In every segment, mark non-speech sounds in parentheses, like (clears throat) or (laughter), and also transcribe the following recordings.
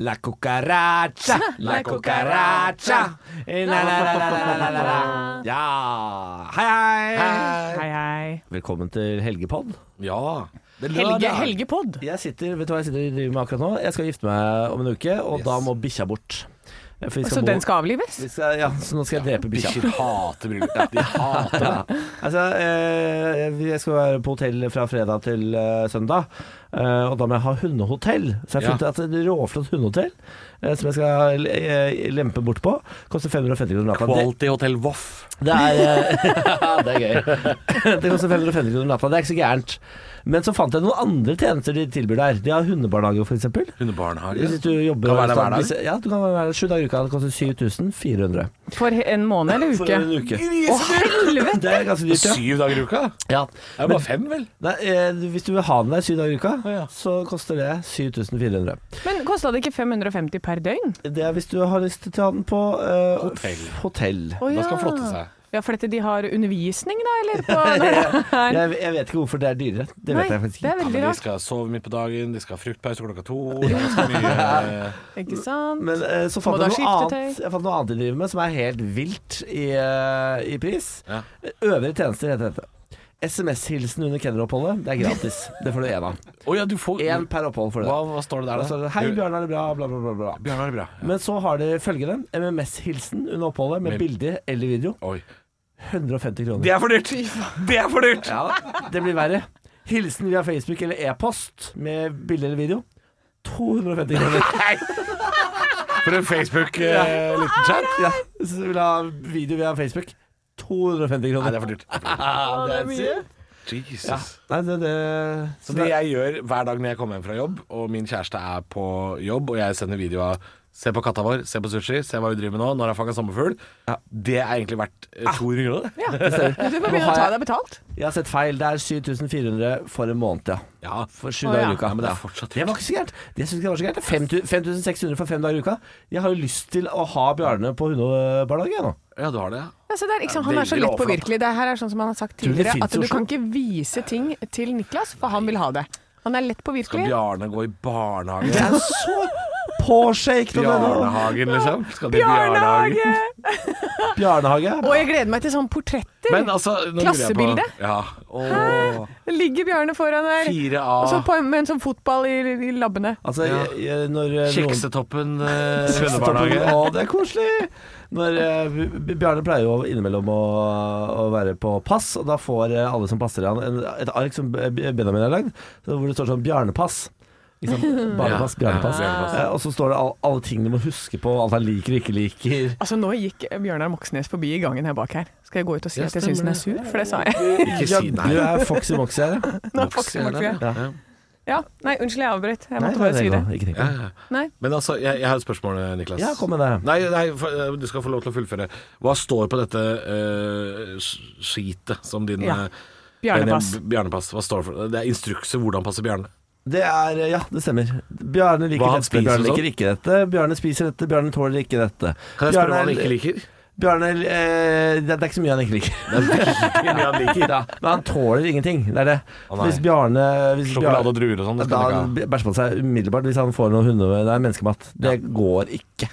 La (laughs) cucaracha, la cucaracha. Eh, La, la, la, la, la, la, la, (laughs) la. Ja. Hei, hei. Eh, Hei, hei. Velkommen til Helgepod. Ja. Det er Helge, lørdag. Helgepod. Jeg sitter, vet du hva jeg sitter og driver med akkurat nå? Jeg skal gifte meg om en uke, og da må bikkja bort. For vi Så bo- den skal avlives? vi skal, Ja, så nå skal jeg drepe bikkja. Bikkjer hater bryllup. Ja, de (laughs) hater det. Altså, eh, jeg skal være på hotell fra fredag til eh, søndag, eh, og da må jeg ha hundehotell. Så jeg har Ja. funnet et råflott hundehotell eh, som jeg skal eh, lempe bort på. Koster 550 kroner natta. Det- Quality Hotel Voff. Det er, (laughs) eh, (laughs) det er gøy. Det koster 550 kroner natta. Det er ikke så gærent. Men så fant jeg noen andre tjenester de tilbyr der. De har hundebarnehage, f.eks. Hvis Hundebarnehage. du jobber Kan være der hver dag? Ja, du kan være der sju dager i uka. Det koster 7400. For en måned eller (laughs) For uke? en uke. Å, (laughs) helvete! Det er ganske dyrt, ja. Syv dager i uka? ja. Det er bare fem, vel? Nei, eh, hvis du vil ha den der syv dager i uka, Å, ja. så koster det 7400. Men kosta det ikke 550 per døgn? Det er hvis du har lyst til å ha den på eh, Hotell. hotell. Å, Da ja. skal han flotte seg. Ja, for dette de har undervisning, da, eller? (laughs) På, Nei, Jeg, jeg vet ikke hvorfor det er dyrere. Det vet (laughs) jeg det faktisk ikke. er Ja, veldig men de rart. skal sove midt på dagen, de skal ha fruktpause klokka to. Det er ganske mye eh, Ikke sant? Men eh, så Må fant du ha jeg, noe skiftetøy? annet, jeg fant noe annet de driver med som er helt vilt i, eh, i pris. Ja. Øvrige tjenester heter dette. SMS-hilsen under kenneroppholdet, det er gratis. Det får du én (laughs) av. Å ja, du får Én per opphold for det. hva, hva står det Og så der, da? er det, Hei, Bjørn, er det bra? Bla, bla, bla. bla. Bjørn har det bra. Ja. Men så har de følgende. MMS-hilsen under oppholdet med Med- bilde eller video. Oi. 150 kroner. Det er for dyrt! Det er for dyrt! Ja, det blir verre. Hilsen via Facebook eller e-post med bilde eller video. 250 kroner. (laughs) Nei. For en Facebook-liten chat. Ja, hvis du vil ha video via Facebook. 250 kroner. Nei, det er for dyrt. Ja, det er sykt. Jesus. Nei, det, det, Så det jeg gjør hver dag når jeg kommer hjem fra jobb, og min kjæreste er på jobb, og jeg sender video av Se på katta vår, se på sushi, se hva vi driver med nå, når jeg har fanga sommerfugl. Det er egentlig verdt eh, 200 kroner. det. Ja. Du må begynne har å ta jeg- deg betalt. jeg har sett feil. Det er 7400 for en måned, ja. Ja, For sju Å, dager ja. i uka. Ja, men det er Ja. fortsatt det var ikke så gærent. Det synes jeg var så gærent. 5600 for fem dager i uka. Jeg har jo lyst til å ha Bjarne på hundebarnehage jeg, nå. ja du har det, ja. Ja, så der, ikke sant? Han er Veldig så lett lovflott. påvirkelig. Det her er sånn som han har sagt Tror du det tidligere, finnes at i du Oslo? kan ikke vise ting til Niklas, for han vil ha det. Han er lett Skal påvirkelig. Bjarne gå i Det barnehage? er så påshaken av denne Bjarnehagen, liksom? Skal de i Bjarnehage! Bjarnehagen? Bjarnehage. Og jeg gleder meg til sånne portretter. Men altså nå lurer jeg på- Klassebilde? Ja. Åh, Det Ligger Bjarne foran der. Fire Og så A. på, med en sånn fotball i, i labbene. Altså, Ja. jeg, jeg, når eh, noen Kiksetoppen (laughs) eh, Stopper- hundebarnehage. Å, det er koselig! Når eh, B- B- Bjarne pleier jo innimellom å, å være på pass, og da får eh, alle som passer han en, et ark som B- B- Benjamin har lagd, så hvor det står sånn 'Bjarnepass'. Liksom, barnepass, Ja, ja, Bjarnepass. Bjarnepass. Eh, og så står det all, alle ting du må huske på, alt han liker og ikke liker. Altså, nå gikk Bjørnar Moxnes forbi i gangen her bak her. Skal jeg gå ut og si Ja, at jeg syns stemmer den er sur? For det sa jeg. Ikke Ja, si Du nei. er Foxy Moxy her, ja. (laughs) Nå er Foxy Moxy. Ja. Ja. Ja. Ja, nei, unnskyld, jeg avbrøt. Jeg Nei, måtte nei, bare si nei, det. nå, ikke tenk på Ja, det. ja. Nei. Men altså, jeg, jeg har et spørsmål, Niklas. Ja, kom med det. Nei, nei for, eh, du skal få lov til å fullføre. Hva står på dette eh, s- skitet som din Ja. eh, Bjarnepass. Benjamin- Bjarnepass. Hva står det for? Det er instrukser hvordan passe Bjarne. Det er, ja, det stemmer. Bjarne liker Hva han dette, spiser Bjarne og sånn? liker ikke dette. Bjarne spiser dette, Bjarne tåler ikke dette. Kan jeg spørre hva Bjarne han er- ikke (laughs) liker? Bjarne eh, det, det er ikke så mye han (laughs) ikke liker. Det er virkelig mye han liker. Ja, men han tåler ingenting. Det er det. Å, nei. hvis Bjarne hvis Sjokolade og druer og sånn, det Da skal han ikke ha. bæsjer han på seg umiddelbart hvis han får noe hunde... Det er menneskemat. Det går (laughs) ikke.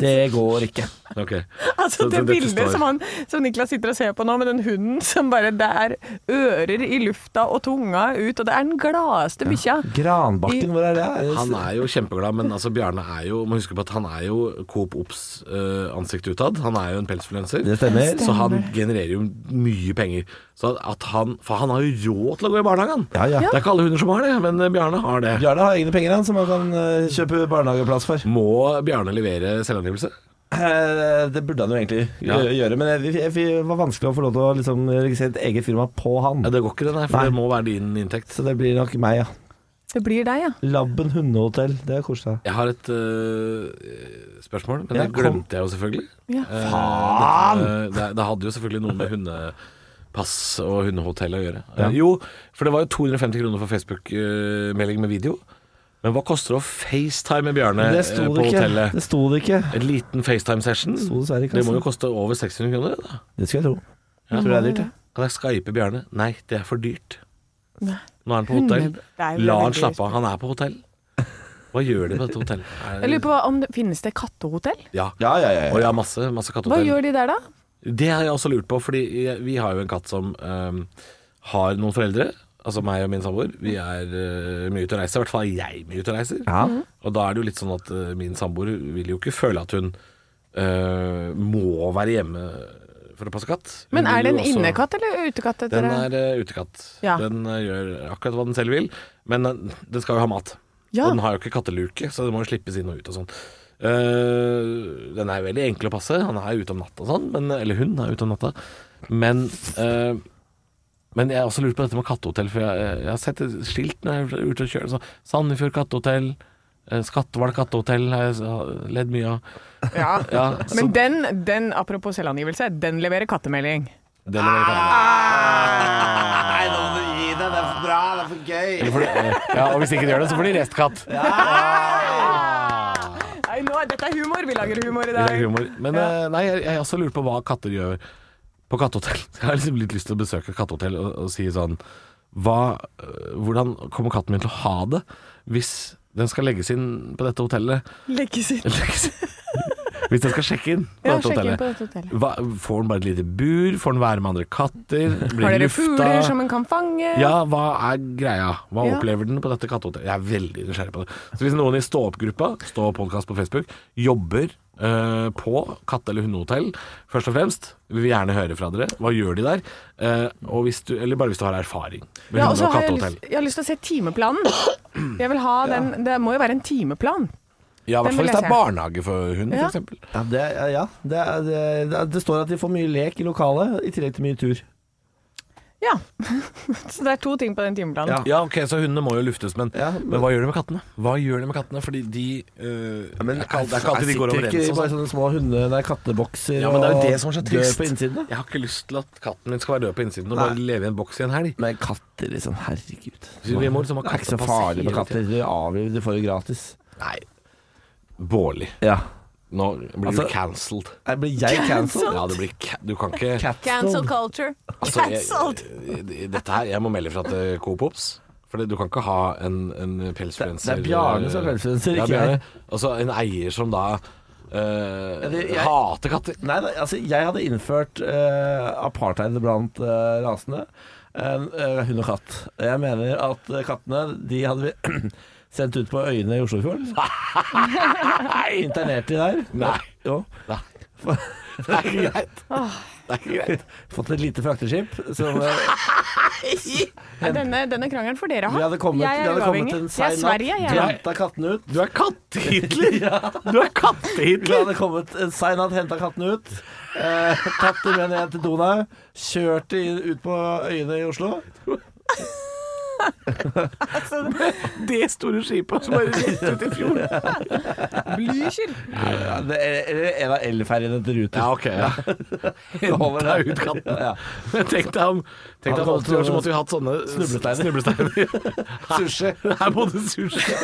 Det går ikke. Ok. (laughs) Altså, Så det dette bildet står- som, han, som Niklas sitter og ser på nå, med den hunden som bare Det er ører i lufta og tunga ut, og det er den gladeste bikkja. Granbakken, hvor er det? Han er jo kjempeglad, men altså Bjarne er jo Må huske på at han er jo Coop Ops eh, ansikt utad. Han er jo en pelsfluenser. Det stemmer. Så han genererer jo mye penger. Så at han, for han har jo råd til å gå i barnehagen. Ja, ja. Det er ikke alle hunder som har det, men eh, Bjarne har det. Bjarne har egne penger han som han kan eh, kjøpe barnehageplass for. Må Bjarne levere selvangivelse? Eh, Det burde han jo egentlig Ja. gjø- gjøre, men jeg- jeg- det var vanskelig å få lov til å liksom registrere et eget firma på han. Ja, det går ikke det, nei, for Nei. det må være din inntekt. Så det blir nok meg, ja. Det blir deg, ja. Labben hundehotell, det er koselig. Jeg har et øh, spørsmål, men Ja, det kom. glemte jeg jo selvfølgelig. ja. Eh, dette med- det, det hadde jo selvfølgelig noe med hundepass og hundehotell å gjøre. Eh, Ja. jo, for det var jo 250 kroner for Facebook-melding med video. Men hva koster det å facetime med Bjarne Det eh, sto på det ikke. hotellet? Det sto det ikke. En liten FaceTime-session? Sto dessverre ikke, Det må altså. jo koste over 600 kroner. Da. Det skulle jeg tro. Jeg tror det er dyrt, ja. Kan jeg skype Bjarne? Nei, det er for dyrt. Nei. Nå er han på hotell. Hunde- Det er jo Eh, La han veldig- slappe av, han er på hotell. Hva gjør de på dette hotellet? Er det- Jeg lurer på hva- om det finnes det kattehotell? Ja. Ja, ja, ja, Og ja. ja, masse, masse Hva kattehotell. gjør de der, da? Det har jeg også lurt på, fordi jeg- vi har jo en katt som øhm, har noen foreldre. Altså meg og min samboer. Vi er øh, mye ute og reiser. I hvert fall er jeg mye ute og reiser. Ja. Og da er det jo litt sånn at øh, min samboer vil jo ikke føle at hun øh, må være hjemme for å passe katt. Hun Men vil er det jo en også- innekatt eller utekatt? etter Den det? er øh, utekatt. Ja. Den øh, gjør akkurat hva den selv vil, men øh, den skal jo ha mat. Ja. Og den har jo ikke katteluke, så den må jo slippes inn og ut og sånn. Eh, den er jo veldig enkel å passe. Han er ute om natta og sånn, men, eller hun er ute om natta. Men, eh, men jeg har også lurt på dette med kattehotell, for jeg, jeg har sett et skilt når jeg er ute og kjører. Så Sandefjord kattehotell, eh, Skatval kattehotell har jeg s- ledd mye av. Ja. Ja, så Men den, den, apropos selvangivelse, den leverer kattemelding. det leverer katten. Nei, nå må du gi deg. Det er for bra. Det er for gøy. Eller får de- Ja, og hvis de ikke gjør det, så får de restkatt. Nei, nå, er- dette er humor. Vi lager humor i Det er dag. humor. Men eh, nei, jeg, jeg har også lurt på hva katter gjør på kattehotell. (laughs) Jeg har liksom litt lyst til å besøke et kattehotell og, og si sånn hva, eh, Hvordan kommer katten min til å ha det hvis den skal legges inn på dette (laughs) hotellet? Legges inn. Legges, hvis den skal sjekke inn på Ja, dette sjekk inn hotellet. på dette hotellet. Hva, får den bare et lite bur? Får den være med andre katter? Blir (laughs) Har den dere lufta? fugler som en kan fange? Ja, hva er greia? Hva Ja. opplever den på dette kattehotellet? Jeg er veldig nysgjerrig på det. Så hvis noen i stå-opp-gruppa, stå podkast på Facebook, jobber eh, på katte- eller hundehotell, først og fremst, vi vil gjerne høre fra dere. Hva gjør de der? Eh, og hvis du, eller bare hvis du har erfaring med Ja, og hunde- så og har jeg, kattehotell. lyst, jeg har lyst til å se timeplanen. Jeg vil ha den, Det må jo være en timeplan. Ja, i den hvert fall vil hvis det jeg er barnehage for hund, Ja. for eksempel. Ah, Ja, det, ja det, er- det, det, det står at de får mye lek i lokalet, i tillegg til mye tur. Ja. (laughs) Så det er to ting på den timeplanen. Ja. Ja, ok, så hundene må jo luftes, men, Ja, men, men- hva gjør de med kattene? Hva gjør de med kattene? Fordi de eh, det, er ikke, al- det er ikke alltid de går sitter overens. ikke i og bare sånn. sånne små hunde, nei, kattebokser Ja, men det er jo og det som er så trist. dør på innsiden. da. Jeg har ikke lyst til at katten min skal være død på innsiden og Nei. bare leve i en boks i en helg. Men katter, liksom. Herregud. Så vi må liksom ha det er ikke så kattepass farlig med hele katter. Du avliver, du får det gratis. Nei. Bårli. Ja. Nå blir Altså- du cancelled. Nei, Blir jeg cancelled? Ja, du, blir ca du kan ikke Cancelled. culture. altså, jeg, jeg- Dette her, jeg må melde fra til Coop Ops. For det- du kan ikke ha en, en pelsfluencer Det- det er Bjarne som er pelsfluencer, Ja, ikke jeg. Bjarne. Altså en eier som da eh, det- jeg- hater katter. Nei, nei, altså jeg hadde innført eh, apartheid blant eh, rasene. En, eh, hund og katt. Jeg mener at eh, kattene de hadde vi (clears throat) sendt ut på øyene i Oslofjorden. Internert de der. Nei. Jo. Nei. Det er ikke greit. Det er ikke greit. Fått et lite frakteskip. Som, eh, Denne, denne krangelen får dere ha. vi hadde kommet, jeg vi er hadde kommet en uavhengig. Jeg er sein Sverige, jeg. Du er- henta kattene ut. Du er (laughs) kattehitler! Du er Vi kattehitler! hadde kommet en sein natt, henta kattene ut. Eh, tatt dem med ned til Donau. Kjørt de inn- ut på øyene i Oslo. Det store skipet som bare rett ut i fjorden. Blücher. Ja, det er, eller en av elferjene til Ruter. Ja, ok. (laughs) Ja. Henta ut katten. Ja. Men tenk deg om Tenk deg om 80 år så måtte vi hatt sånne Snublesteiner. (laughs) snublesteiner. Sushi. Her må du sushi.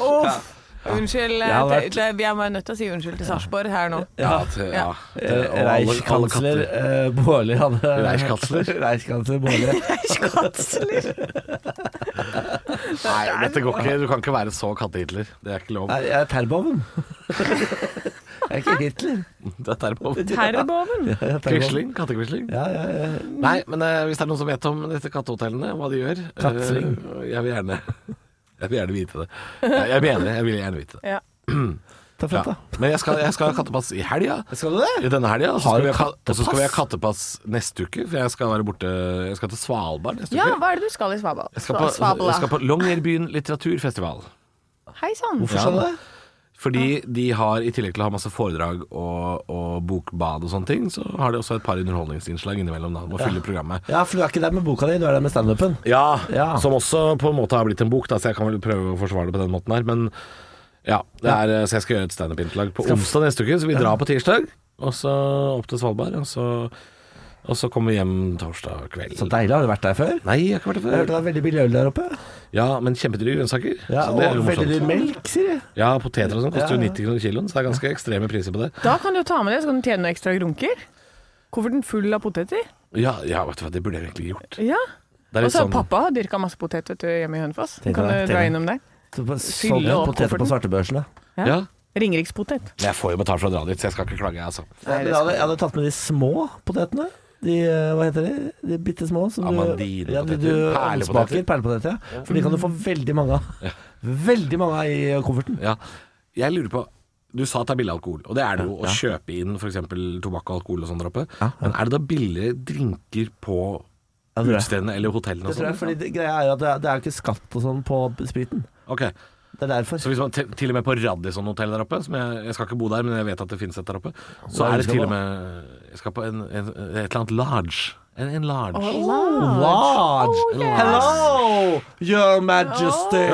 Uff. Unnskyld. Jeg har eh, vært- det, det, jeg må nødt til å si unnskyld til Sarpsborg her nå. Ja, til, ja. Eh, til alle- alle Reichkansler katter. eh, Baarli hadde (laughs) Reichskansler? Reichskansler Baarli. (laughs) Kansler. Nei, dette går ikke. Du kan ikke være så kattehitler. Det er ikke lov. Nei, jeg er Terboven. (laughs) jeg er ikke Hitler. Dette er på (laughs) Terboven. Jeg er Terboven. Quisling, kattekvisling. Ja, ja, ja. Nei, men eh, hvis det er noen som vet om disse kattehotellene, hva de gjør eh, Kattsving. Jeg vil gjerne (laughs) Jeg vil gjerne vite (laughs) det. Jeg, jeg mener det. Jeg vil gjerne vite det. Ja. Ta Ja. frem, da. Men jeg skal, jeg skal ha kattepass i helga. Skal du det? I denne helga. Og så Har skal du vi ha- og så skal vi ha kattepass? kattepass neste uke, for jeg skal være borte Jeg skal til Svalbard neste ja, uke. hva er det du skal i Svalbard? Jeg skal på, Svalbard. jeg skal på Longyearbyen litteraturfestival. Hei sann. Hvorfor Ja. skal du det? Fordi de har, i tillegg til å ha masse foredrag og, og bokbad og sånne ting, så har de også et par underholdningsinnslag innimellom. Da, må fylle programmet. Ja, for du er ikke der med boka di, du er der med standupen. Ja, Ja. som også på en måte har blitt en bok, da, så jeg kan vel prøve å forsvare det på den måten her. Men ja, det er, eh, så jeg skal gjøre et standup-innslag på onsdag neste uke, så vi drar på tirsdag. Og så opp til Svalbard, og så, og så kommer vi hjem torsdag kveld. Så Sånn deilig. Har du vært der før? Nei, jeg har ikke vært Jeg der hørte før. det er veldig billig øl der oppe. Ja, men kjempedyre grønnsaker. Ja, så det er og jo veldig dyr morsomt. melk, sier de. Ja, poteter og sånn koster jo Ja, ja. 90 kroner kiloen, så det er ganske ekstreme priser på det. Da kan du jo ta med det, så kan du tjene noen ekstra grunker. Kofferten full av poteter. Ja, ja vet du hva, det burde jeg egentlig gjort. Ja. Det er Og litt så har sånn pappa har dyrka masse potet vet du, hjemme i Hønefoss. Tenk Kan deg det, du dra tenk. innom der? Sånn Fylle opp poteter på kofferten. svartebørsen, da. Ja. Ja. Ringerikspotet. Men jeg får jo betalt for å dra dit, så jeg skal ikke klage, jeg, altså. Nei, men jeg, hadde, jeg hadde tatt med de små potetene. De, eh, hva heter de? De bitte små. som du- Amandine-poteter. Ja, de du Perlepoteter. smaker. Perlepoteter, ja. For de kan du få veldig mange av. Veldig mange av i eh, kofferten. Ja. Jeg lurer på Du sa at det er billig alkohol, og det er det jo å kjøpe inn f.eks. tobakk og alkohol og sånn der oppe. Men er det da billigere drinker på Ja, det tror jeg. utestedene eller hotellene Det og tror jeg, sånn? fordi det, greia er jo at det er, det er jo ikke skatt og sånn på spriten. Ok, Det er derfor. Så hvis man til, til og med på Radisson hotell der oppe, som jeg, jeg skal ikke bo der, men jeg vet at det finnes et der oppe, så Hva er er det det du skal til på? og med Jeg skal på en, en, et eller annet large. En, en large. Large. yes. Hello, your majesty.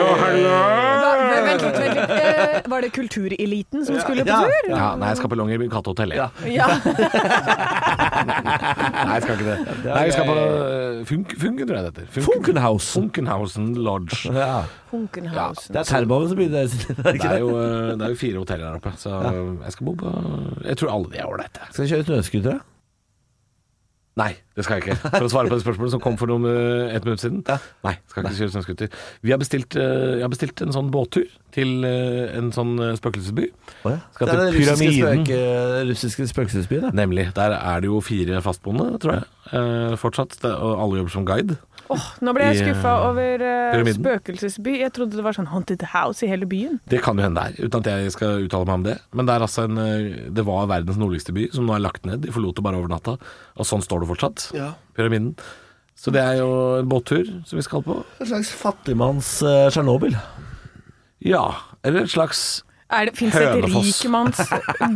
Vent litt, vent litt. Eh, Var det kultureliten som skulle på Ja. tur? Ja, nei, jeg skal på Longyearbyen katehotell. jeg. Ja. Ja. Nei, jeg skal ikke det. Nei, jeg skal på øh, Funk, Funken, tror jeg det heter. Funken- Funkenhausen. Funkenhausen Lodge. Ja. Funkenhausen. Det er Terboven som begynner der. Det er, jo, øh, det er jo fire hoteller der oppe, så øh, jeg skal bo på Jeg tror alle de er ålreite. Skal vi kjøre snøscooter? da? Nei, det skal jeg ikke. For å svare på det spørsmålet som kom for noen, øh, et minutt siden. Nei, skal ikke kjøre snøscooter. Vi har bestilt, øh, jeg har bestilt en sånn båttur til øh, en sånn øh, spøkelsesby. Å, ja. Skal det til er den russiske, pyramiden. spøke, russiske spøkelsesbyen. da. Nemlig. Der er det jo fire fastboende, tror jeg. øh, fortsatt. Det- Og alle jobber som guide. Åh, nå ble jeg I, eh, skuffa over eh, pyramiden. spøkelsesby. Jeg trodde det var sånn haunted house i hele byen. Det kan jo hende det er, uten at jeg skal uttale meg om det. Men det er altså en øh, Det var verdens nordligste by, som nå er lagt ned. De forlot det bare over natta. Og sånn står det fortsatt. Pyramiden. Så det er jo en båttur som vi skal på. En slags fattigmanns eh, Tsjernobyl. Ja. Eller et slags Er det, finnes det et Hønefoss. rikmanns...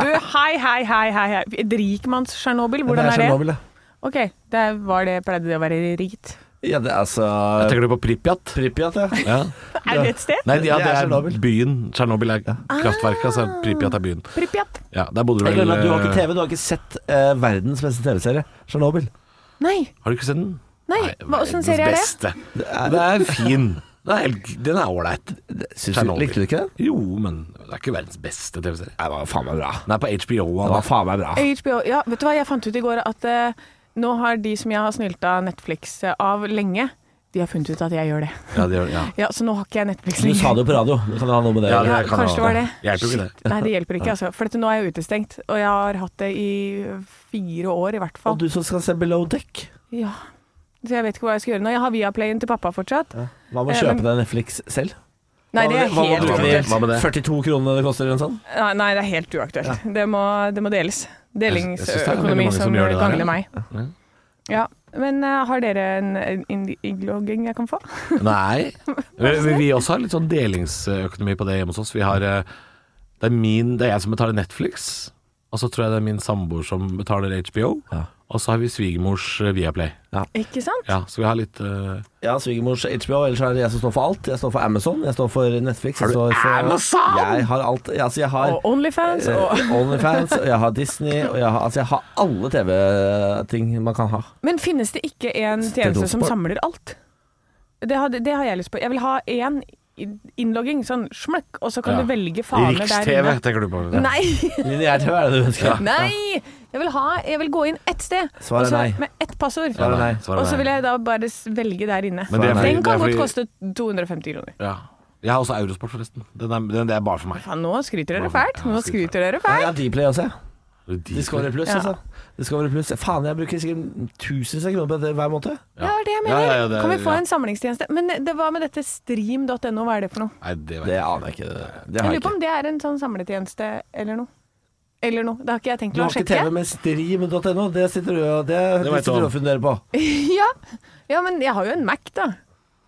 Du, hei, hei, hei, hei. hei. Et rikmanns-Tsjernobyl, hvordan er det? Tsjernobyl, ja. Ok, det var det, pleide det å være rikt? Ja, det er altså Tenker du på Pripjat? Pripjat, ja. eh, Ja. Er det et sted? Nei, ja, Det det er er Tsjernobyl. Ah. byen. Tsjernobyl er kraftverket, altså Pripjat er byen. Pripjat? Ja, der bodde du Jeg vel glemmer at Du har ikke eh, TV, du har ikke sett eh, verdens beste TV-serie, Tsjernobyl. Nei. Har du ikke sett den? Nei, hva- åssen serie er det? Beste. Den er fin. Den er, helt- den er ålreit. Syns du, Tsjernobyl. likte du ikke den? Jo, men det er ikke verdens beste TV-serie. Det var faen meg bra. Den er på HBO. Det Anna. var faen meg bra. HBO, ja, vet du hva, jeg fant ut i går at eh, nå har de som jeg har snylta Netflix eh, av lenge, de har funnet ut at jeg gjør det. Ja, det gjør, ja. Ja, Så nå har ikke jeg Netflix Du sa det jo på radio, du kan ha noe med det. Ja, å gjøre. Ja, det kan kanskje jeg ha. det var det. Hjelper jo ikke Shit, Nei, det hjelper ikke, altså. For dette, nå er jeg utestengt. Og jeg har hatt det i fire år, i hvert fall. Og du som skal se Below Deck, Ja. Så jeg vet ikke hva jeg skal gjøre nå. Jeg har Viaplayen til pappa fortsatt. hva med å Eh, kjøpe men- deg Netflix selv? Nei, det er Hva med- helt hva med- uaktuelt. Hva med det? 42 kroner det koster en sånn? Nei, Nei, det er helt uaktuelt. Det, må, det må deles. Jeg- jeg synes det er veldig Delingsøkonomi mange som som, gjør det der, ja. gangler meg. Ja. Ja. Men eh, har dere en, en innlogging jeg kan få? Nei. Vi, vi også har litt sånn delingsøkonomi på det hjemme hos oss. Vi har eh, Det er min Det er jeg som betaler Netflix, og så tror jeg det er min samboer som betaler HBO. Ja. Og så har vi svigermors eh, Viaplay. Ikke sant? Ja, så vi har litt eh, Ja, svigermors HBO, ellers er det jeg som står for alt. Jeg står for Amazon, jeg står for Netflix. Har du Amazon? Jeg har alt. Altså, jeg har Og Onlyfans og eh, Onlyfans, og jeg har Disney, og jeg har, altså, jeg har alle TV-ting man kan ha. Men finnes det ikke en tjeneste som Stetoskop. samler alt? Det har, det har jeg lyst på. Jeg vil ha én i- innlogging, sånn smøkk, og så kan Ja. du velge faner der Riks-TV, inne. tenker du på. (laughs) Nei! Lineær-TV er det du ønsker? Nei! Jeg vil, ha, jeg vil gå inn ett sted, Svaret og så- nei. med ett passord. Ja, nei. Svaret Og så nei. vil jeg da bare s- velge der inne. Men det er fordi- Den kan det er godt fordi- koste 250 kroner. Ja. Jeg har også Eurosport, forresten. Den er, den, det er bare for meg. Faen, nå skryter dere fælt. Ja, Nå skryter. skryter dere Jeg fælt. har Dplay også, jeg. Discovery Discovery. Pluss, Ja. altså. Discovery Plus. Faen, jeg bruker sikkert tusenvis av kroner på dette hver måned. Ja, det er det jeg Ja, ja, ja, mener. det- Kan vi ja. få en samlingstjeneste? Men det, hva med dette stream.no, hva er det for noe? Nei, det vet Det jeg aner jeg ikke. det- Det Jeg har lurer jeg på ikke. om det er en sånn samletjeneste eller noe. Eller noe. Det har ikke jeg tenkt Du å har ikke sjekke. (laughs) TV med stream.no, det sitter du og det, Det det vet sitter du om. du og funderer på. ja. ja, men jeg har jo en Mac, da.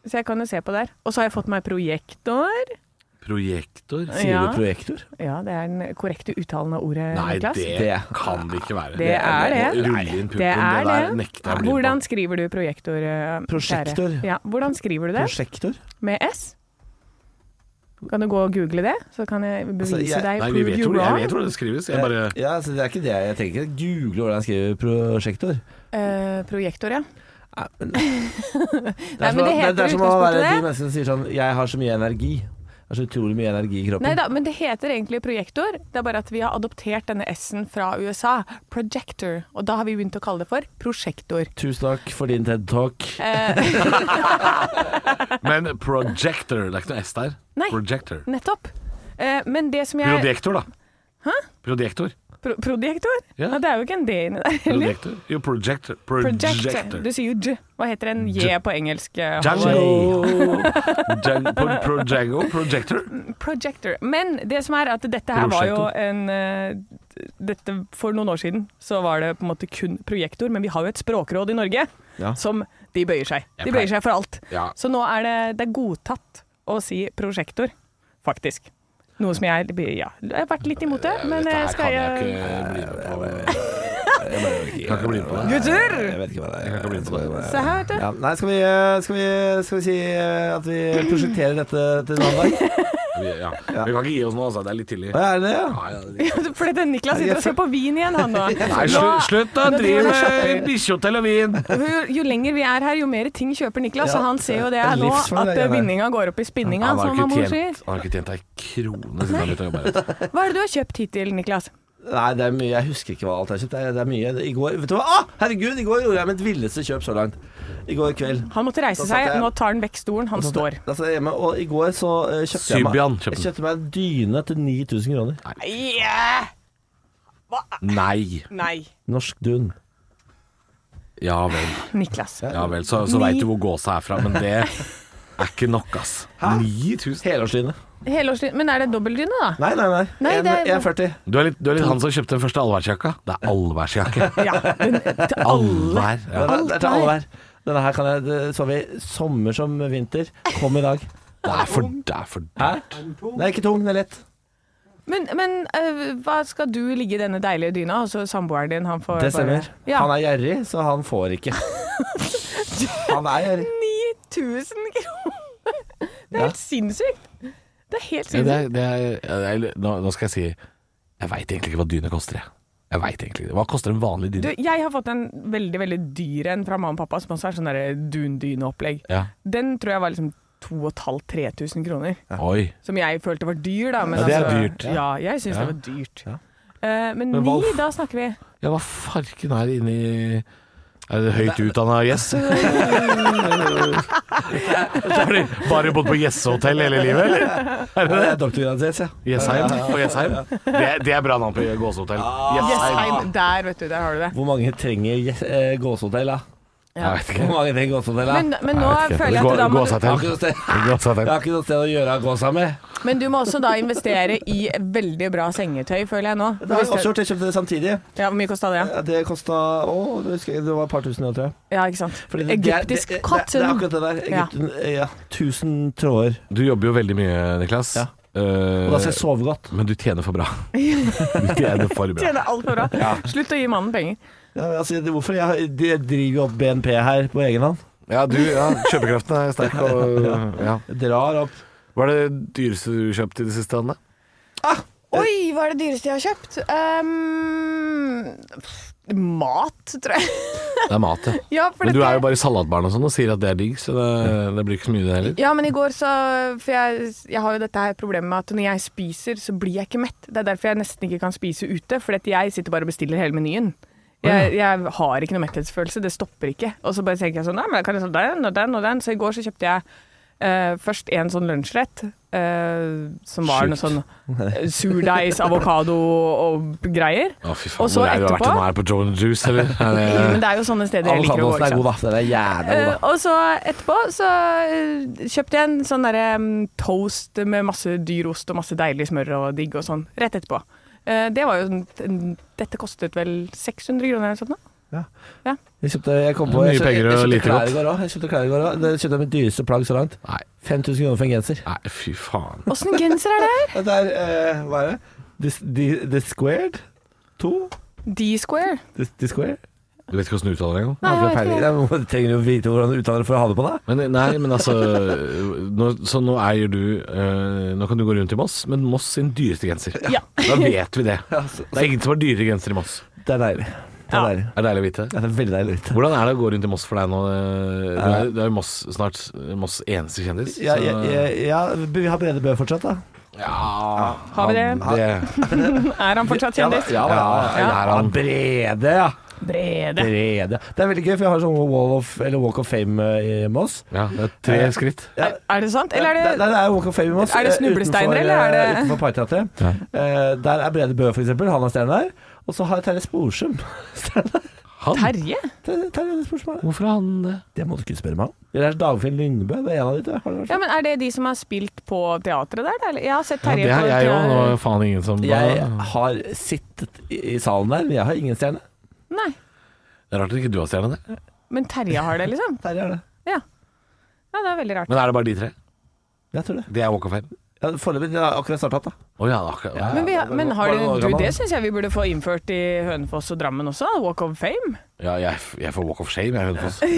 Så jeg kan jo se på der. Og så har jeg fått meg projektor. ikke. Projektor? Sier Ja. du projektor? Ja, det er den korrekte uttalen av ordet, Nei, eh, Niklas. det, Det- kan det ikke være. Det er det. Rulle inn puppen, Det er det det. der nekter jeg å bli med Hvordan skriver du projektor? eh, Prosjektor. kjære? Ja, hvordan skriver du det? Prosjektor? Med S? Kan du gå og google det, så kan jeg bevise Altså, jeg- deg? Nei, vi prove vet you jo, jeg wrong. vet hvordan det skrives. Jeg bare Eh, Ja, så det er ikke det. Jeg trenger ikke google hvordan jeg skriver prosjektor. Eh, projektor, ja. Nei, men- Det er men som å- det heter det er som å utgangspunktet være de det. menneskene som sier sånn Jeg har så mye energi. Det er så utrolig mye energi i kroppen. Nei da, men det heter egentlig projektor. Det er bare at vi har adoptert denne S-en fra USA. Projector. Og da har vi begynt å kalle det for prosjektor. Tusen takk for din TED Talk. Eh, (laughs) Men projector, det er ikke noe S der. Nei. Projector. nettopp. Eh, men det som jeg Projektor, da. Hæ? Projektor. Pro Projektor? Ja. Ja, det er jo ikke en D inni der heller. Projektor. Jo, projector. Projector. Projector. Du sier jo J. Hva heter en J på engelsk? eh, Django. Django. Pro- Projango. Projector. Projector. Men det som er at dette her var jo Prosjektor. en eh, dette, For noen år siden så var det på en måte kun projektor, men vi har jo et språkråd i Norge Ja. som de bøyer seg. De Jeg bøyer pleier- seg for alt. Ja. Så nå er det, det er godtatt å si prosjektor, faktisk. Noe som jeg ja, jeg har vært litt imot det, men Dette eh, her skal kan jeg jeg ikke bli med på. Kan ikke bli med på det. Gutter! Jeg vet ikke hva det er. Jeg kan ikke bli med på det. Se her, vet du. (laughs) Ja, nei, skal vi, eh, skal, vi, skal vi si eh, at vi prosjekterer dette til en annen (laughs) dag? Vi, ja. vi kan ikke gi oss nå, altså. Det er litt tidlig. Hva er det, ja? Ja, ja, det- Fordi at Niklas sitter og ser på vin igjen, han nå. Nei, nå slutt, slutt da. nå Driv driver han med eh, bikkjehotell og vin. jo, jo lenger vi er her, jo mer ting kjøper Niklas. Ja, og han ser jo det det er her nå, livsfarlig, at det eh, der. vinninga går opp i spinninga, har som ikke mamma sånn sier. tjent- han har ikke tjent ei krone siden han begynte å jobbe her. (laughs) Hva er det du har kjøpt hittil, Niklas? Nei, det er mye. Jeg husker ikke hva alt jeg har kjøpt. Det er, det er mye. I går Vet du hva? Ah, herregud, i går gjorde jeg mitt villeste kjøp så langt. I går kveld. Han måtte reise Da satt seg, jeg- nå tar han vekk stolen, han står. Da satt jeg altså, hjemme, og i går så eh, kjøpte jeg meg Symbian Jeg kjøpte den. kjøpte meg en dyne til 9000 kroner. Yeah! Nei. Nei. Norsk dun. Ja vel. Niklas. Ja vel. Så, så Ni- veit du hvor gåsa er fra, men det er ikke nok, ass. 9000? Helårsdyne. Helårsdyne. Men er det dobbeltdyne, (laughs) da? Nei, nei, nei. Nei, En- det er- 1,40. Du er litt, du er litt han som kjøpte den første allværsjakka. Det er (laughs) allværsjakke. Ja. Den, til alle. Allvær. Det Ja. er det er til alle her. Denne her kan jeg det- Så vi sommer som vinter. Kom i dag. Det er for Det er for Hæ? Den er ikke tung, den er lett. Men, men eh, hva skal du ligge i denne deilige dyna, og så samboeren din, han får Det stemmer. bare- Ja. Han er gjerrig, så han (laughs) får ikke. Han er gjerrig. 9000 kroner! Det er Ja. helt sinnssykt. Det er helt Ja, det sinnssykt. er, det er, ja, det er, nå, nå skal jeg si Jeg veit egentlig ikke hva dyne koster, jeg. Jeg vet egentlig ikke. Hva koster en vanlig Du, dyne? jeg har fått en veldig veldig dyr en fra mamma og pappa, som også er sånn der dundyneopplegg. Ja. Den tror jeg var liksom 2500-3000 kroner. Oi. Som jeg følte var dyr, da. Men Ja, det er altså, dyrt. Ja, jeg syns Ja. det var dyrt. Ja. Eh, men, Men ni, Wolf- da snakker vi. Ja, hva farken er det inni Er det høyt utdanna (laughs) gjess? Har de bare bodd på gjessehotell hele livet, eller? Ja, det er doktorgraden sin, ja. Jessheim og Jessheim. Det, det er bra navn på gåsehotell. Jessheim. Jessheim, der, vet du. Der har du det. Hvor mange trenger yes- eh, gåsehotell, (laughs) da? Jeg vet Hvor ikke. mange trenger gåsehotell, da? Men, men nå Jeg vet ikke. føler jeg at da må du, Jeg Gåsehotell. har ikke noe sted, jeg Gåsehotell. har ikke noe sted å gjøre av gåsa mi. Men du må også da investere i veldig bra sengetøy, føler jeg nå. Det har jeg Hvis også gjort, jeg kjøpte det samtidig. Ja, Hvor mye kosta det? Ja, Eh, Det kosta Å, det husker jeg, det var et par tusen, jeg tror jeg. Ja, ikke sant. Fordi det- det er- Egyptisk det- det- Det er kattun. akkurat det der. Egypten, ja. Tusen tråder. Du jobber jo veldig mye, Niklas. Ja. Eh, Og da skal jeg sove godt. men du tjener (laughs) for bra. Du tjener for bra. Tjener alt for bra. (laughs) Slutt å gi mannen penger. Ja, men altså, det- hvorfor? Jeg har- de driver jo opp BNP her på egen hånd. Ja, du, ja, kjøpekraften er sterk. Og, (laughs) ja. Drar opp. Hva er det dyreste du kjøpte i det siste, Anne? Oi, hva er det dyreste jeg har kjøpt? Ehm, mat, tror jeg. (laughs) Det er mat, ja. Ja, for Men du dette- er jo bare salatbarn og sånn og sier at det er digg, så det, det blir ikke så mye det heller. Ja, men i går så For jeg, jeg har jo dette her problemet med at når jeg spiser, så blir jeg ikke mett. Det er derfor jeg nesten ikke kan spise ute, for jeg sitter bare og bestiller hele menyen. Jeg, jeg har ikke noe metthetsfølelse, det stopper ikke. Og så bare tenker jeg sånn, nei, men jeg kan liksom den og den og den. Så i går så kjøpte jeg eh, først en sånn lunsjrett, eh, som var noe sånn eh, surdeigs, avokado og greier. Å, fy faen. Og så hvor er du har etterpå- vært nå? Er du på Joe and Juice, (laughs) eller? Er det, Men det er jo sånne steder jeg liker å gå. Avokadoen ikke er sant? god, da. Den er jævla god, da. Eh, og så etterpå så eh, kjøpte jeg en sånn derre mm, toast med masse dyr ost og masse deilig smør og digg og sånn, rett etterpå. Eh, det var jo sånn en- Dette kostet vel 600 kroner eller sånn da? Jeg kjøpte, jeg kom på, Mye jeg kjøpte, jeg penger og kjøpte lite klær godt. i går òg. Jeg kjøpte klær i går også. Det kjøpte jeg mitt dyreste plagg så langt. nei, 5000 kroner for en genser. nei, fy faen. Åssen genser er det her? Dette er eh, Hva er det? The, the, the Squared? To? D-square. The, the Squared? Du vet ikke hvordan du uttaler det engang? Nei, jeg vet ikke. Nei, men du trenger jo vite hvordan du uttaler det for å ha det på deg. Men, nei, men altså nå, Så nå eier du eh, Nå kan du gå rundt i Moss, men Moss sin dyreste genser. Ja. Da vet vi det. Ja, så- Det er ingen som har dyrere genser i Moss. Det er deilig. Det er Ja. deilig. Det er deilig å vite. Ja, det er veldig deilig å vite. Hvordan er det å gå rundt i Moss for deg nå? Eh, Du er, du er jo Moss snart Moss eneste kjendis. Ja, så- ja, ja, ja, vi har Brede Bø fortsatt, da. Ja, Har vi han- det? Er han fortsatt Ja da, kjendis? Ja, da, Ja. ja, ja, ja, Brede, ja. Brede. Brede. Det er veldig gøy, for jeg har sånn wall of, eller Walk of Fame eh, i Moss. Ja, det er tre skritt. Ja. Er, er det sant? Eller er Nei, det det er Walk of Fame i Moss. Er det snublesteiner, eh, utenfor, eller er det- eh, Utenfor Parkteatret. Ja. Eh, der er Brede Bø, for eksempel. Han er stjerne der. Og så har jeg Terje Sporsum. (laughs) Stjerne der. Han? Terje? Terje Terje Sporsum er der. Hvorfor har han det? Det må du ikke spørre meg om. Eller er det Dagfinn Lyngbø? Det er en av de to. Har du vært Ja, men Er det de som har spilt på teatret der? eller? Jeg har sett Ja, Terje det er på jeg òg. Nå er faen ingen som Jeg Det har sittet i i salen der, men jeg har ingen stjerne. Nei, er rart at ikke du har stjerne, det. men Terje har det, liksom. Terje har det. Ja. ja, det er veldig rart. Men er det bare de tre? Jeg tror det. Det er Walk of Fame. Ja, Foreløpig det har akkurat starta, da. Å ja, akkurat. Men, vi, det- men har bare noen du, år du gammel. Det syns jeg vi burde få innført i Hønefoss og Drammen også. Walk of fame. Ja, jeg, jeg får Walk of Shame, jeg, Hønefoss. (laughs)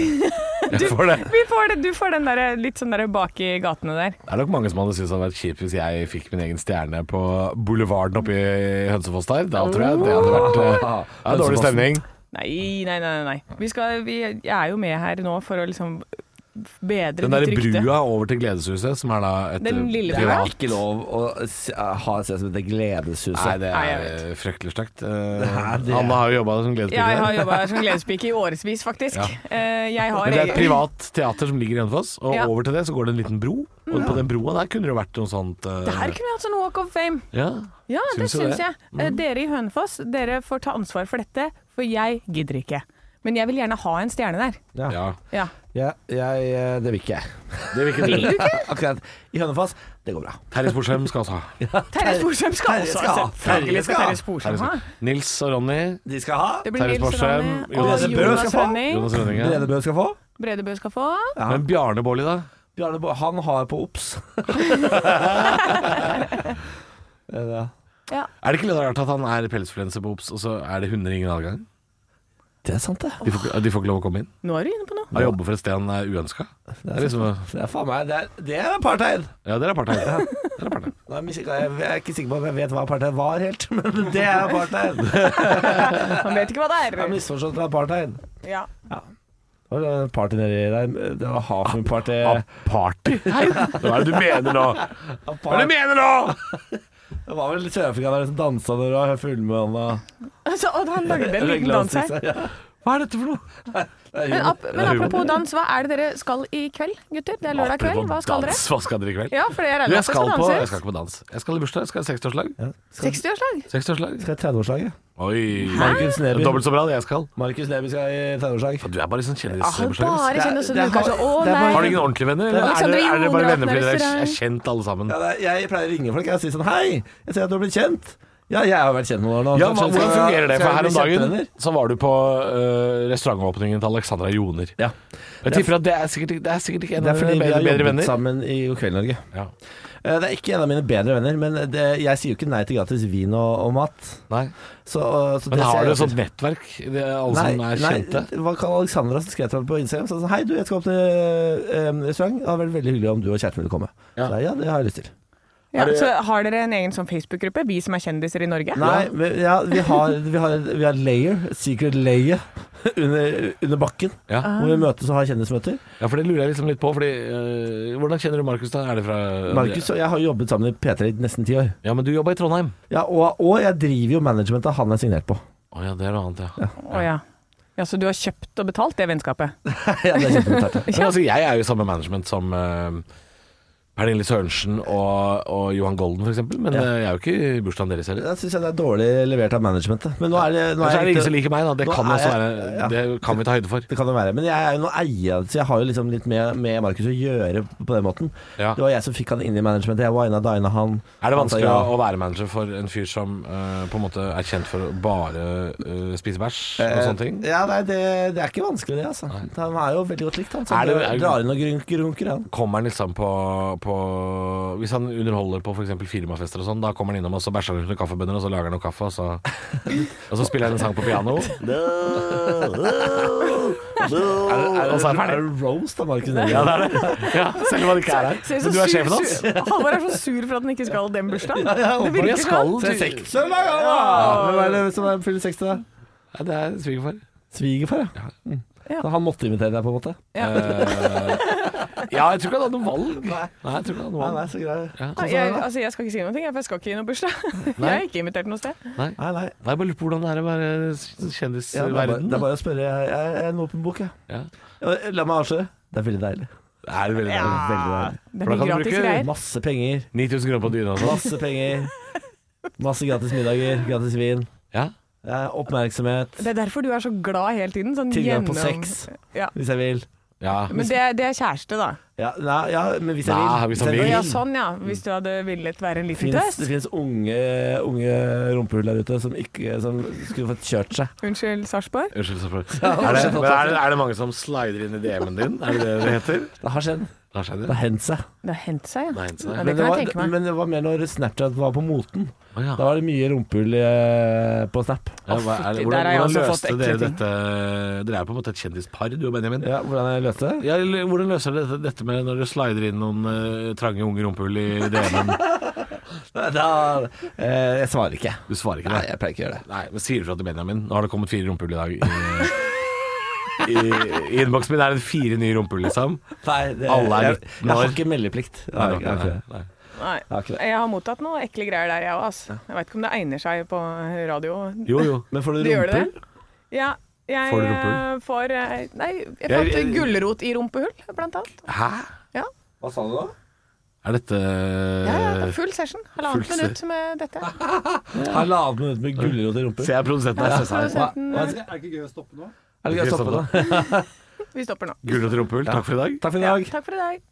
Jeg får det. Vi får det, du får den der, litt sånn der bak i gatene der. Det er nok mange som hadde syntes det hadde vært kjipt hvis jeg fikk min egen stjerne på boulevarden oppe i Hønsefoss der. Da tror jeg det hadde vært eh, ja, dårlig Hønsefossen. stemning. Nei, nei, nei. nei. Vi skal, vi, jeg er jo med her nå for å liksom bedre Den der ditt rykte. brua over til Gledeshuset, som er da et Den lille Det brua? er ikke lov å s- ha et sted som heter Gledeshuset. Nei, det Nei, jeg er vet. eh, fryktelig stygt. Eh, er det. Anna har jo jobba som Ja, jeg har gledespiller. jobba som gledespike i årevis, faktisk. Ja. Eh, Jeg har Men det er et egen- privat teater som ligger i Hønefoss, og Ja. over til det så går det en liten bro. Og på den broa der kunne det jo vært noe sånt eh, Det her kunne vi hatt sånn walk of fame. ja. Ja, Syns det du det? Mm. syns jeg. Eh, Dere i Hønefoss, dere får ta ansvar for dette, for jeg gidder ikke. Men jeg vil gjerne ha en stjerne der. Ja. ja. Ja. Ja, jeg, eh, det vil ikke jeg. Det vil ikke du. Akkurat i Hønefoss, det går bra. Terje Sporsheim skal også ha. Terje Sporsem skal Terje også skal ha. ha. Selvfølgelig skal Terje Terje Terje Sporsem ha. Sporsheim. Nils og Ronny. De skal ha. Det blir Terje Nils Sporsem, Rane og Jonas Jonas, Brød skal få. Rønning. Jonas Rønning. Brede Ja. Bø skal få. Brede Bø skal få. Ja. Men Bjarne Bolli, da? Bjarne Bo han har på (laughs) obs. Det er det. Ja. Er det ikke litt rart at han er pelsfluenser på Obs, og så er det hunder ingen adgang? det er sant, det. De får, ikke- de får ikke lov å komme inn. Nå er du inne på noe. Han jobber for et sted han er uønska. Det er liksom Det er faen meg Det er, det er apartheid. Ja, det er apartheid. Det er apartheid. Nå er jeg, misik- jeg er ikke sikker på om jeg vet hva apartheid var helt, (laughs) men det er apartheid. Jeg Han vet ikke hva det har er. misforstått apartheid. Ja. (laughs) Det var en party nedi der. Det var Hafenparty. Party? Hva er det du mener nå? Hva er det du mener nå? Det var vel Sør-Afrika der som dansa når du var fullmåne. Så, og han lagde en liten dans her. Hva er dette for noe? Men, ap men apropos dans, hva er det dere skal i kveld, gutter? Det er lørdag kveld. Hva skal dere? Dans. Hva skal dere i kveld? Ja, for jeg Du, regner jeg skal med at det skal på Jeg danses. skal ikke på dans. Jeg skal i bursdag. Jeg skal i 60-årslag. 60-årslag. 60-årslag. Skal i 30-årslaget. Oi. Markus Det er Neby. Dobbelt så bra det jeg skal. Markus Neby skal i 30-årslag. Du er bare sånn Ah, han kjendisbursdag. bare Det er- kjenner så du det er- kanskje Å det er bare- nei. Har du ingen ordentlige venner? Eller er Alexander dere, er dere bare Joner, venner fordi dere Alexander. er kjent alle sammen? Ja, det er- jeg pleier å ringe folk jeg, og si sånn Hei, jeg ser at du har blitt kjent. Ja, jeg har vært kjent med noen år nå. Ja, så men skal- Hvordan fungerer det? skal For her vi om bli dagen kjentevenner? så var du på øh, restaurantåpningen til Alexandra Joner. Ja. Jeg tipper at det er sikkert, det er sikkert ikke en Det av er fordi dine vi har bedre, bedre jobbet venner. sammen i God kveld, Norge. Ja. Eh, Det er ikke en av mine bedre venner, men det, jeg sier jo ikke nei til gratis vin og, og mat. Nei. Så, eh, så det Men sier har du sånn- jeg ja et til. sånt nettverk? Det er alle som er kjente? det var Karl Alexandra som skrev til meg på Instagram Så sa han, Hei du, jeg skal opp til eh, restaurant Det hadde vært veldig hyggelig om du og kjæresten ville komme Ja. ja. Så jeg, ja, det har jeg lyst til Ja, så har dere en egen sånn Facebook-gruppe, vi som er kjendiser i Norge? Nei, men, ja, vi, har, vi, har, vi har layer Secret layer (laughs) under, under bakken Ja. Hvor vi møtes og har kjendismøter ja, for det lurer jeg liksom litt på. Fordi, øh, hvordan kjenner du Markus da? Er det fra Markus og jeg har jobbet sammen i P3 i nesten 10 år Ja, men du jobba i Trondheim. ja, og, og jeg driver jo managementet han er signert på (laughs) Å ja, det er noe annet, ja. Å ja. ja. Så du har kjøpt og betalt det vennskapet? ja, det er kjempebetalt, ja. Men altså, jeg er jo i samme management som øh, Pernille Sørensen og, og Johan Golden, f.eks. Men øh, jeg er jo ikke i bursdagen deres heller. Jeg synes jeg det er dårlig levert av managementet Men nå er det, nå Men så er er det jeg ingen ikke- som liker meg, da. Det Nå kan, er også jeg- være, ja. det kan vi ta høyde for. Det kan det være. Men jeg er jo noe eier, så jeg har jo liksom litt med, med Markus å gjøre på den måten. Ja. Det var jeg som fikk han inn i managementet. Jeg wina dina han. Er det Han sa vanskelig ja. å- å være manager for en fyr som eh, på en måte er kjent for å bare eh, spise bæsj og sånne ting? Eh, Ja, nei, det, det er ikke vanskelig, det, altså. Han er jo veldig godt likt, han. Er Så han det- drar- er det- drar inn og grunker, (laughs) grunker han. Kommer han liksom på, på Hvis han underholder på f.eks. firmafester og sånn, da kommer han innom og så bæsjer han ut noen kaffebønner, og så lager han noe kaffe, og (laughs) så, og så spiller han en sang på piano. er, det- Og så er han ferdig. Altså, er det roast av Markus Neby? Ja, det er (laughs) det. Ja, selv om han ikke er her. Ser så Men du er sur- sjefen hans. sur- Halvor er så sur for at han ikke skal den bursdagen. ja, Det Håvard, virker jeg skal sånn. til- Søndag, ja! Hvem er det som er fyller 60 da? Ja, det er svigerfar. Svigerfar, ja. Mm. Ja. Så han måtte invitere deg, på en måte? Eh, ja, jeg tror ikke han hadde noe valg. Nei, jeg tror ikke han hadde noe valg. så grei. Ja. Ah, jeg, altså, jeg skal ikke si noe, for jeg skal ikke i noen bursdag. (laughs) Jeg er ikke invitert noe sted. Nei. Nei, Nei, nei. jeg bare lurer på hvordan det er å være Ja, det, er bare, kjendisverden. det er bare å spørre. Jeg, jeg er en åpen bok, jeg. Ja. Ja, La meg avsløre. Det er veldig deilig. Det er veldig Det deilig. er veldig deilig. For Det da blir kan du gratis bruke- greier. Masse penger. 9000 kroner på dyna og sånn. Masse penger. Masse gratis middager, gratis vin. Ja. Eh, Oppmerksomhet. Det er derfor du er så glad hele tiden. Sånn Tilgang på gjennom- sex, Ja. hvis jeg vil. ja. Men det, det er kjæreste, da. Ja, nei, ja men hvis jeg vil. Nei, hvis han vil. Å, Ja, sånn, ja. Hvis du hadde villet være en liten Finnes, tøst. det finnes unge, unge rumpehull der ute som, ikke, som skulle fått kjørt seg. Unnskyld, Sarpsborg. Unnskyld, selvfølgelig. Er det, men er, det, er det mange som slider inn i DM-en din? Er det det det heter? Det har skjedd. Lars Det Heider? har hendt seg. Det har hendt seg, ja. Nei, ikke Ja, det. det kan jeg var, tenke meg. men det var mer når Snapchat var på moten. Å, ja. Da var det mye rumpehull eh, på Snap. Ja, hva er det, Å, fytti, der hvordan, har jeg hvordan også løste fått ekle dere ting. dette? Dere er på en måte et kjendispar, du og Benjamin. Ja, hvordan jeg løste det? Ja, eller hvordan løser dere dette, dette med når dere slider inn noen eh, trange unge rumpehull i DM-en? Da, eh, jeg svarer ikke. Du svarer ikke Nei, det? jeg pleier ikke å gjøre det. Nei, men sier du fra til Benjamin? Nå har det kommet fire rumpehull i dag. I, i, i innboksen min er det fire nye rumpehull, liksom. Nei, det, Alle er jeg, jeg, nitten år. har ikke meldeplikt. Nei, jeg har ikke det. Nei. Nei. har ikke det. Jeg har mottatt noen ekle greier der, jeg òg. Altså. Jeg veit ikke om det egner seg på radio. Jo, jo. Men får du Det gjør det? rumpehull? Ja, jeg Får du eh, rumpehull? får eh, Nei, jeg Jeg- fant jeg- gulrot i rumpehull, blant annet. Hæ? Ja, Hva sa du da? Er dette ja, ja det er full session. Eh, Halvannet full minutt med dette. Halvannet minutt med gulrot i rumpehull. Se, jeg er produsenten her. stressa her. Produsenten, Hva- hva- Er det ikke gøy å stoppe nå? Er det gøy å stoppe da? vi stopper nå. Gulrot rumpehull, takk for i dag. Takk for i Ja, dag. takk for i dag.